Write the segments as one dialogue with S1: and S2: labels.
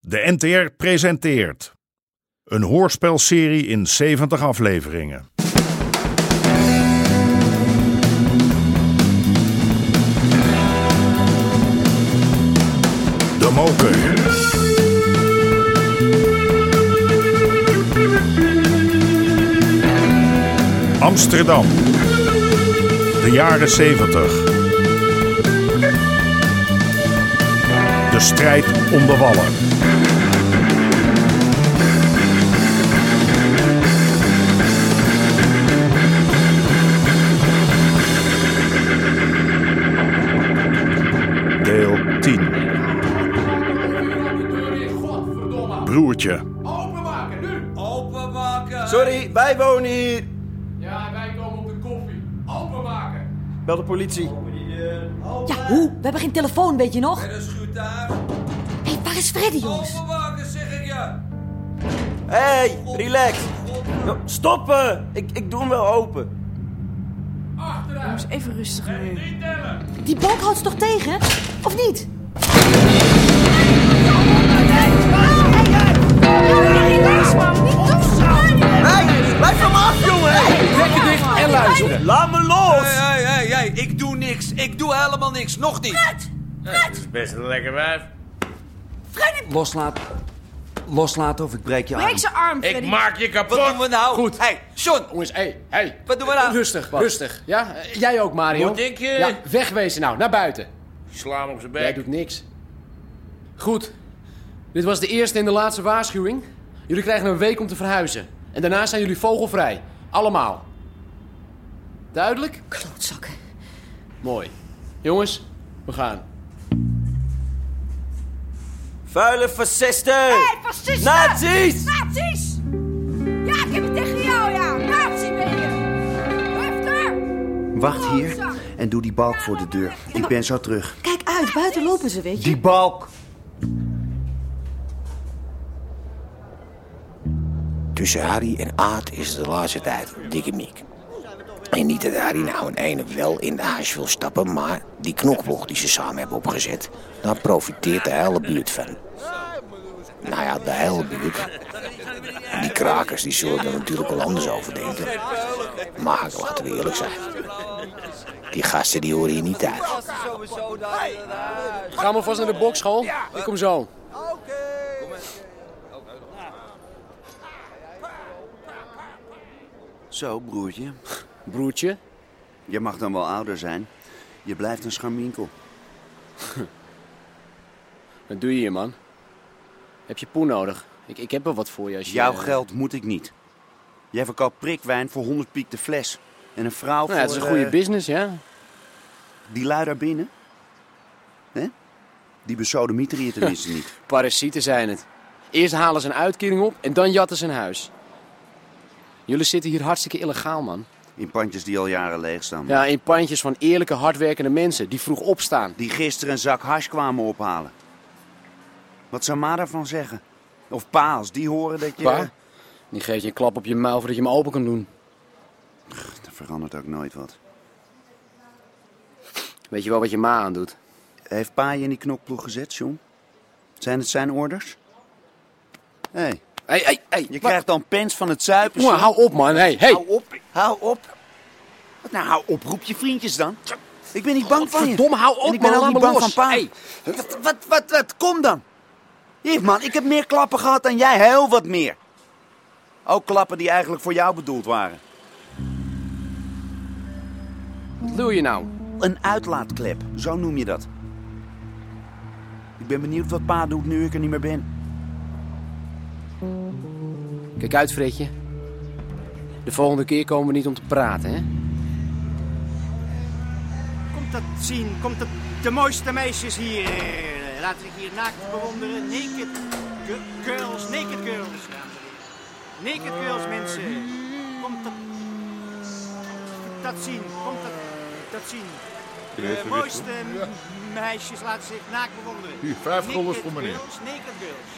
S1: De NTR presenteert een hoorspelserie in 70 afleveringen. De Moker. Amsterdam. De jaren 70. De strijd om de wallen. Deel 10.
S2: Godverdomme!
S1: Broertje.
S2: Openmaken, nu! Openmaken!
S3: Sorry, wij wonen hier.
S2: Ja, wij komen op de koffie. Openmaken!
S3: Bel de politie.
S4: Ja, hoe? We hebben geen telefoon, weet je nog?
S2: Een schuitaar!
S4: Hé, waar is Freddy, jongens?
S2: Openmaken, zeg ik je!
S3: Hey, relax. Nou, stoppen. Ik, ik doe hem wel open.
S2: Achteruit!
S5: Even rustig nu.
S2: Niet tellen!
S4: Die bank houdt ze toch tegen? Of niet?
S3: Hey, blijf van me af, jongen.
S6: Lekker dicht en luisteren.
S3: Laat me
S7: Eh.
S3: los.
S6: Hé, hé, hé, ik doe niks. Ik doe helemaal niks. Nog niet.
S2: Best een lekker wijf.
S6: Loslaat. Loslaten of ik breek je arm.
S5: Breek zijn arm, Freddy.
S2: maak je
S6: Wat doen
S2: kapot!
S6: we nou?
S8: Goed.
S6: Hey, John.
S8: Jongens, hé, hey, hey.
S6: Wat doen we nou?
S8: Rustig, rustig. Ja? Eh, Jij ook, Mario.
S2: Moet ik, eh?
S8: Ja, wegwezen nou, naar buiten.
S2: Sla hem op zijn
S8: Jij
S2: bek.
S8: doet niks. Goed. Dit was de eerste en de laatste waarschuwing. Jullie krijgen een week om te verhuizen. En daarna zijn jullie vogelvrij. Allemaal. Duidelijk?
S4: Klootzakken.
S8: Mooi. Jongens, we gaan.
S3: Vuile fascisten.
S5: Hey, fascisten!
S3: Nazi's.
S5: Nazi's! Ja, ik heb het tegen jou, ja. Nazi ben je. Hefter!
S7: Wacht hier en doe die balk voor de deur. Ik ben zo terug.
S4: Kijk uit, buiten lopen ze, weet je.
S7: Die balk!
S9: Tussen Harry en Aad is het de laatste tijd dikke miek. En niet dat Harry nou een ene wel in de haas wil stappen, maar die knokblok die ze samen hebben opgezet, daar profiteert de hele buurt van. Nou ja, de hele buurt. Die krakers die zullen er natuurlijk wel anders over denken. Maar laten we eerlijk zijn. Die gasten die horen hier niet uit.
S8: Ga maar vast naar de bokschool. Ik kom zo.
S7: Zo, broertje.
S8: Broertje.
S7: Je mag dan wel ouder zijn. Je blijft een scharminkel.
S8: Wat doe je hier, man? Heb je poen nodig? Ik, ik heb er wat voor je als je...
S7: Jouw geld moet ik niet. Jij verkoopt prikwijn voor 100 piek de fles. En een vrouw
S8: Nou, ja, het is een
S7: voor,
S8: goede
S7: eh,
S8: business, ja.
S7: Die lui daar binnen. Hè? Die besodemieter hier tenminste niet.
S8: Parasieten zijn het. Eerst halen ze een uitkering op en dan jatten ze een huis. Jullie zitten hier hartstikke illegaal, man.
S7: In pandjes die al jaren leeg staan.
S8: Ja, in pandjes van eerlijke, hardwerkende mensen die vroeg opstaan.
S7: Die gisteren een zak hash kwamen ophalen. Wat zou Ma daarvan zeggen? Of paals, die horen dat je...
S8: Pa, die geeft je een klap op je muil voordat je hem open kan doen.
S7: Er verandert ook nooit wat.
S8: Weet je wel wat je ma aandoet?
S7: Heeft pa je in die knokploeg gezet, John? Zijn het zijn orders? Hé, hey,
S8: Hé, hé, hé.
S7: je krijgt dan pens van het zuipen.
S8: Jongen,
S7: John.
S8: hou op, man. Hé, hé.
S7: Hou op, hou op. Wat nou, hou op, roep je vriendjes dan. Ik ben niet bang van je.
S8: Godverdomme, hou op,
S7: en ik ben
S8: man,
S7: ook
S8: laat
S7: niet
S8: me
S7: bang
S8: los.
S7: van pa.
S8: Hey.
S7: Wat, wat, wat, wat, kom dan. Hier, man, ik heb meer klappen gehad dan jij, heel wat meer. Ook klappen die eigenlijk voor jou bedoeld waren.
S8: Wat doe je nou?
S7: Een uitlaatklep, zo noem je dat. Ik ben benieuwd wat pa doet nu ik er niet meer ben.
S8: Kijk uit, Fredje. De volgende keer komen we niet om te praten, hè?
S10: Komt dat zien? Komt dat de mooiste meisjes hier? eh, Laten we hier naakt bewonderen. Naked gi- girls, naked girls, dames en heren. Naked girls, mensen. Komt dat, dat zien? Komt dat, dat zien? De mooiste m- meisjes laten zich naakt bewonderen.
S11: Hier, vijf guldens voor meneer.
S10: Girls, naked girls.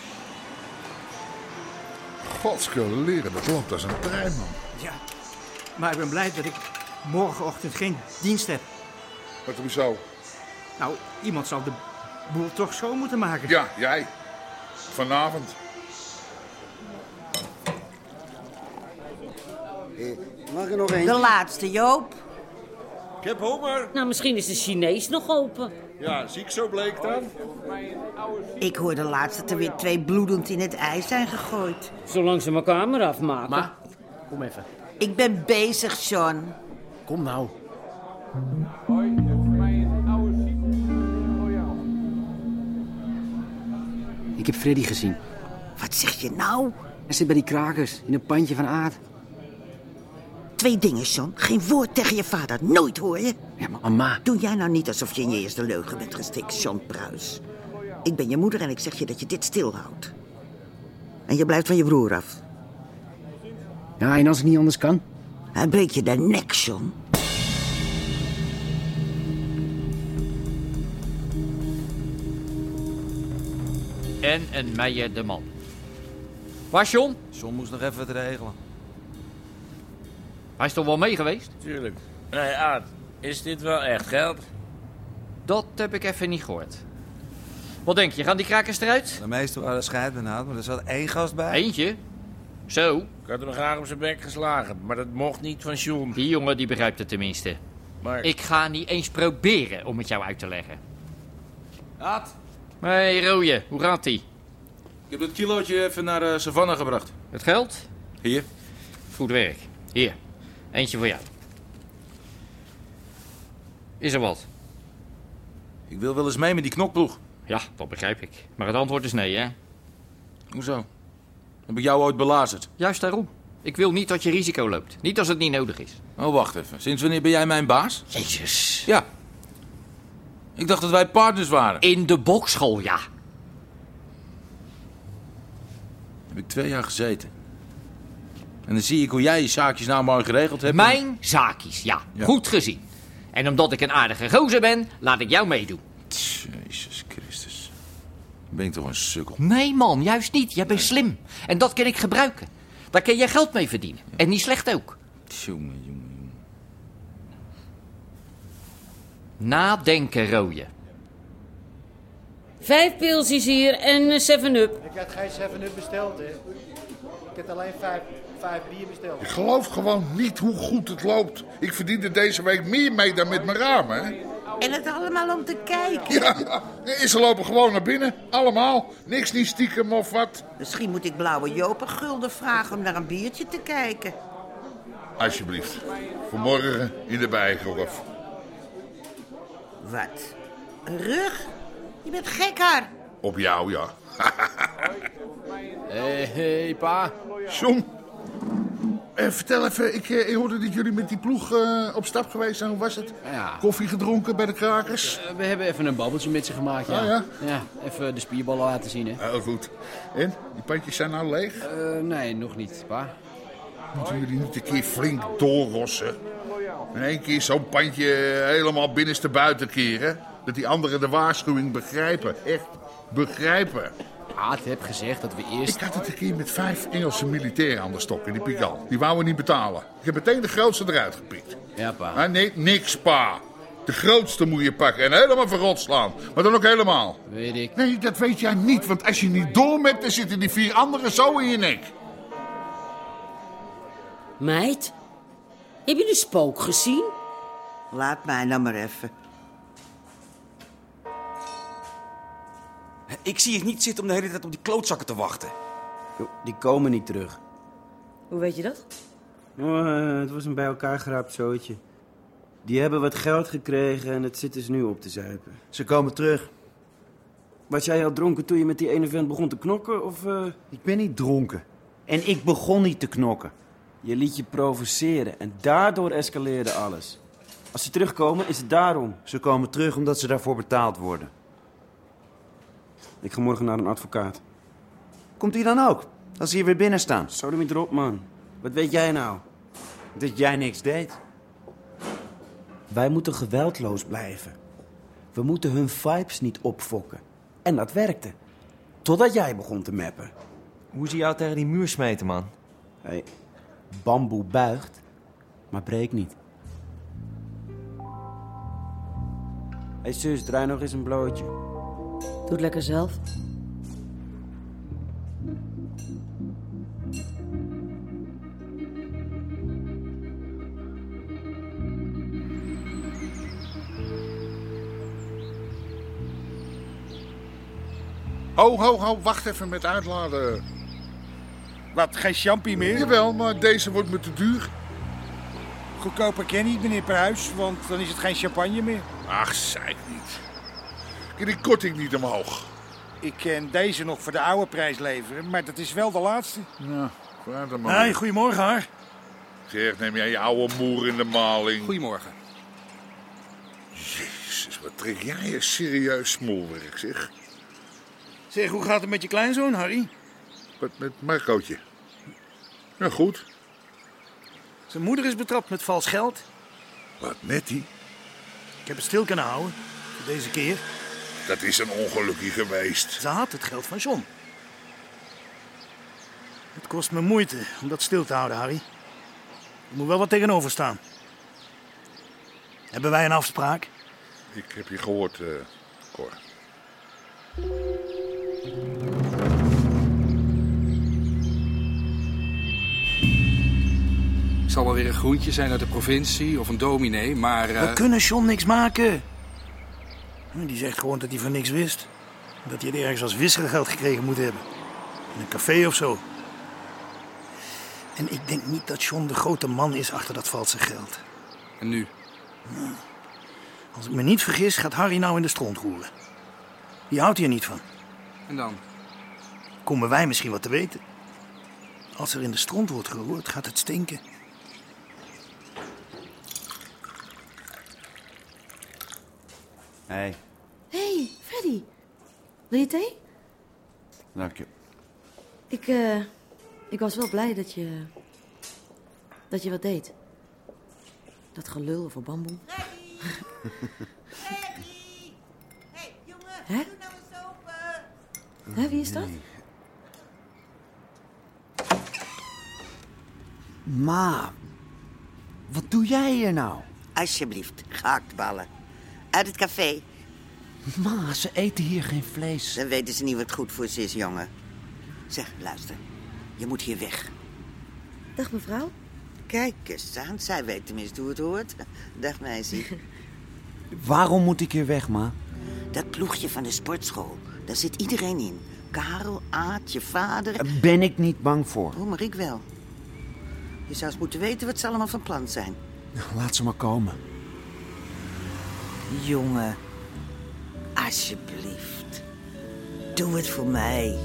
S11: Godskeleren, dat loopt als een trein, man.
S10: Ja, maar ik ben blij dat ik morgenochtend geen dienst heb.
S11: Wat hoezo?
S10: Nou, iemand zal de boel toch schoon moeten maken.
S11: Ja, jij.
S2: Vanavond.
S3: Mag er nog één?
S7: De laatste, Joop.
S12: Ik heb honger.
S7: Nou, misschien is de Chinees nog open.
S12: Ja, zie ik zo bleek dan?
S7: Ik hoorde laatst dat er weer twee bloedend in het ijs zijn gegooid.
S3: Zolang ze mijn kamer afmaken.
S8: Ma, kom even.
S7: Ik ben bezig, John.
S8: Kom nou.
S13: Ik heb Freddy gezien.
S7: Wat zeg je nou?
S13: Hij zit bij die krakers in een pandje van aard.
S7: Twee dingen, John. Geen woord tegen je vader. Nooit hoor je.
S13: Ja, maar mama.
S7: Doe jij nou niet alsof je in je eerste leugen bent gestikt, John Pruis. Ik ben je moeder en ik zeg je dat je dit stilhoudt. En je blijft van je broer af.
S13: Ja, en als ik niet anders kan?
S7: Hij breekt je de nek, John.
S6: En een Meijer de Man. Waar is John?
S14: John moest nog even wat regelen.
S6: Hij is toch wel mee geweest?
S12: Tuurlijk. Nee, Aad, is dit wel echt geld?
S6: Dat heb ik even niet gehoord. Wat denk je, gaan die krakers eruit?
S14: De meesten waren scheidbenaamd, maar er zat één gast bij.
S6: Eentje? Zo.
S12: Ik had hem graag op zijn bek geslagen, maar dat mocht niet van John.
S6: Die jongen die begrijpt het tenminste.
S12: Maar...
S6: Ik ga niet eens proberen om het jou uit te leggen.
S15: Aad,
S6: Hé, hey, Rooie, hoe gaat ie?
S15: ik heb dat kilootje even naar eh Savannah gebracht.
S6: Het geld?
S15: Hier.
S6: Goed werk. Hier, eentje voor jou. Is er wat?
S15: Ik wil wel eens mee met die knokploeg.
S6: Ja, dat begrijp ik. Maar het antwoord is nee, hè?
S15: Hoezo? Heb ik jou ooit belazerd?
S6: Juist daarom. Ik wil niet dat je risico loopt. Niet als het niet nodig is.
S15: Oh, wacht even. Sinds wanneer ben jij mijn baas?
S6: Jezus.
S15: Ja. Ik dacht dat wij partners waren.
S6: In de bokschool, ja.
S15: Heb ik twee jaar gezeten. En dan zie ik hoe jij je zaakjes nou maar geregeld hebt.
S6: Mijn zaakjes, ja.
S15: Ja.
S6: Goed gezien. En omdat ik een aardige gozer ben, laat ik jou meedoen.
S15: Jezus Christus. Ben ik toch een sukkel.
S6: Nee, man, juist niet. Jij bent slim. En dat kan ik gebruiken. Daar kun je geld mee verdienen. En niet slecht ook.
S15: Jongen, jongen, jongen.
S6: Nadenken, rooie.
S16: Vijf pilsjes hier en een 7-up.
S17: Ik had geen 7-up besteld, hè. Ik had alleen vijf, vijf bier besteld.
S2: Ik geloof gewoon niet hoe goed het loopt. Ik verdiende deze week meer mee dan met mijn ramen. Hè?
S7: En het allemaal om te kijken.
S2: Ja, en ze lopen gewoon naar binnen. Allemaal. Niks niet stiekem of wat.
S7: Misschien moet ik Blauwe Joop een gulden vragen om naar een biertje te kijken.
S2: Alsjeblieft. Vanmorgen in de bijgolf.
S7: Wat? Een rug? Je bent gek, haar.
S2: Op jou, ja.
S8: Hé, hey, pa.
S2: John. Eh, vertel even, ik, eh, ik hoorde dat jullie met die ploeg eh, op stap geweest zijn. Hoe was het?
S8: Ja.
S2: Koffie gedronken bij de krakers?
S8: Eh, We hebben even een babbeltje met ze gemaakt, ja.
S13: Oh,
S2: Ah, ja?
S8: even de spierballen laten zien, hè.
S2: Heel goed. En? Die pandjes zijn nou leeg?
S8: Eh, nee, nog niet, pa.
S2: Moeten jullie niet een keer flink doorrossen? In één keer zo'n pandje eh, helemaal binnenste buiten keren. Dat die anderen de waarschuwing begrijpen. Echt begrijpen.
S8: Aad heb gezegd dat we eerst...
S2: Ik had het een keer met vijf Engelse militairen aan de stok in die pikal. Die wouden niet betalen. Ik heb meteen de grootste eruit gepikt.
S8: Ja, pa.
S2: Ah, nee, niks pa. De grootste moet je pakken en helemaal verrot slaan. Maar dan ook helemaal.
S8: Weet ik.
S2: Nee, dat weet jij niet. Want als je niet dom hebt, dan zitten die vier anderen zo in je nek.
S7: Meid, heb je de spook gezien? Laat mij nou maar even.
S14: Ik zie het niet zitten om de hele tijd op die klootzakken te wachten.
S3: Die komen niet terug.
S4: Hoe weet je dat?
S3: Nou, eh, het was een bij elkaar geraapt zootje. Die hebben wat geld gekregen en het zit dus nu op te zuipen.
S14: Ze komen terug.
S3: Was jij al dronken toen je met die ene vent begon te knokken? Of, eh?
S14: Ik ben niet dronken. En ik begon niet te knokken.
S3: Je liet je provoceren en daardoor escaleerde alles. Als ze terugkomen is het daarom.
S14: Ze komen terug omdat ze daarvoor betaald worden.
S3: Ik ga morgen naar een advocaat.
S14: Komt die dan ook? Als ze hier weer binnen staan.
S3: Zo niet erop, man. Wat weet jij nou?
S14: Dat jij niks deed.
S3: Wij moeten geweldloos blijven. We moeten hun vibes niet opfokken. En dat werkte. Totdat jij begon te meppen.
S18: Hoe zie jou tegen die muur smeten, man?
S3: Hé, bamboe buigt, maar breekt niet. Hé zus, draai nog eens een blootje.
S4: Doe het lekker zelf.
S19: Ho, ho, ho, wacht even met uitladen. Wat, geen champie meer? Jawel, maar deze wordt me te duur.
S3: Goedkoper ken niet, meneer Pruis, want dan is het geen champagne meer.
S19: Ach, zeik niet. Kan die korting niet omhoog?
S3: Ik ken deze nog voor de oude prijs leveren, maar dat is wel de laatste.
S19: Ja, kwaad dan
S3: Hey, goedemorgen, hoor.
S19: Zeg, neem jij je oude moer in de maling.
S3: Goedemorgen.
S19: Jezus, wat trek jij een serieus smoelwerk, zeg.
S3: Zeg, hoe gaat het met je kleinzoon, Harry?
S19: Wat met Marcootje? Ja, goed.
S3: Zijn moeder is betrapt met vals geld.
S19: Wat met die?
S3: Ik heb het stil kunnen houden, voor deze keer.
S19: Dat is een ongelukkie geweest.
S3: Ze had het geld van John. Het kost me moeite om dat stil te houden, Harry. Er moet wel wat tegenover staan. Hebben wij een afspraak?
S19: Ik heb je gehoord, eh, Cor.
S8: Het zal wel weer een groentje zijn uit de provincie of een dominee, maar... eh,
S3: We kunnen John niks maken. Hm, Die zegt gewoon dat hij van niks wist. Dat hij het ergens als wisselgeld gekregen moet hebben. In een café of zo. En ik denk niet dat John de grote man is achter dat valse geld.
S8: En nu?
S3: Als ik me niet vergis, gaat Harry nou in de stront roeren. Die houdt hier niet van.
S8: En dan?
S3: Komen wij misschien wat te weten? Als er in de stront wordt geroerd, gaat het stinken.
S20: Hé, hey,
S4: Hé, hey, Freddy. Wil je thee?
S20: dank je.
S4: Ik, eh, ik was wel blij dat je... dat je wat deed. Dat gelul over bamboe. Hè? Hè, wie is dat?
S7: Ma, wat doe jij hier nou? Alsjeblieft, gehaktballen. Uit het café. Ma, ze eten hier geen vlees. Dan weten ze niet wat goed voor ze is, jongen. Zeg, luister. Je moet hier weg.
S4: Dag mevrouw.
S7: Kijk eens aan, zij weet tenminste hoe het hoort. Dag meisje.
S20: Waarom moet ik hier weg, ma?
S7: Dat ploegje van de sportschool, daar zit iedereen in. Karel, Aad, je vader.
S20: Ben ik niet bang voor.
S7: Oh, maar ik wel. Je zou eens moeten weten wat ze allemaal van plan zijn.
S20: Laat ze maar komen.
S7: Jongen, alsjeblieft. Doe het voor mij.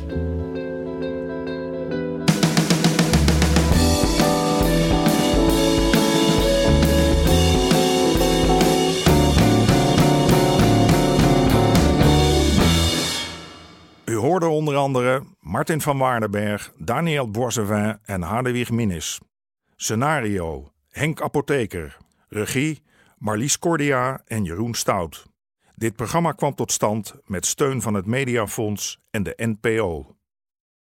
S1: U hoorde onder andere Martin van Waardenberg, Daniel Boisevin en Hadewig Minnis. Scenario Henk Apotheker. Regie Marlies Cordia en Jeroen Stout. Dit programma kwam tot stand met steun van het Mediafonds en de NPO.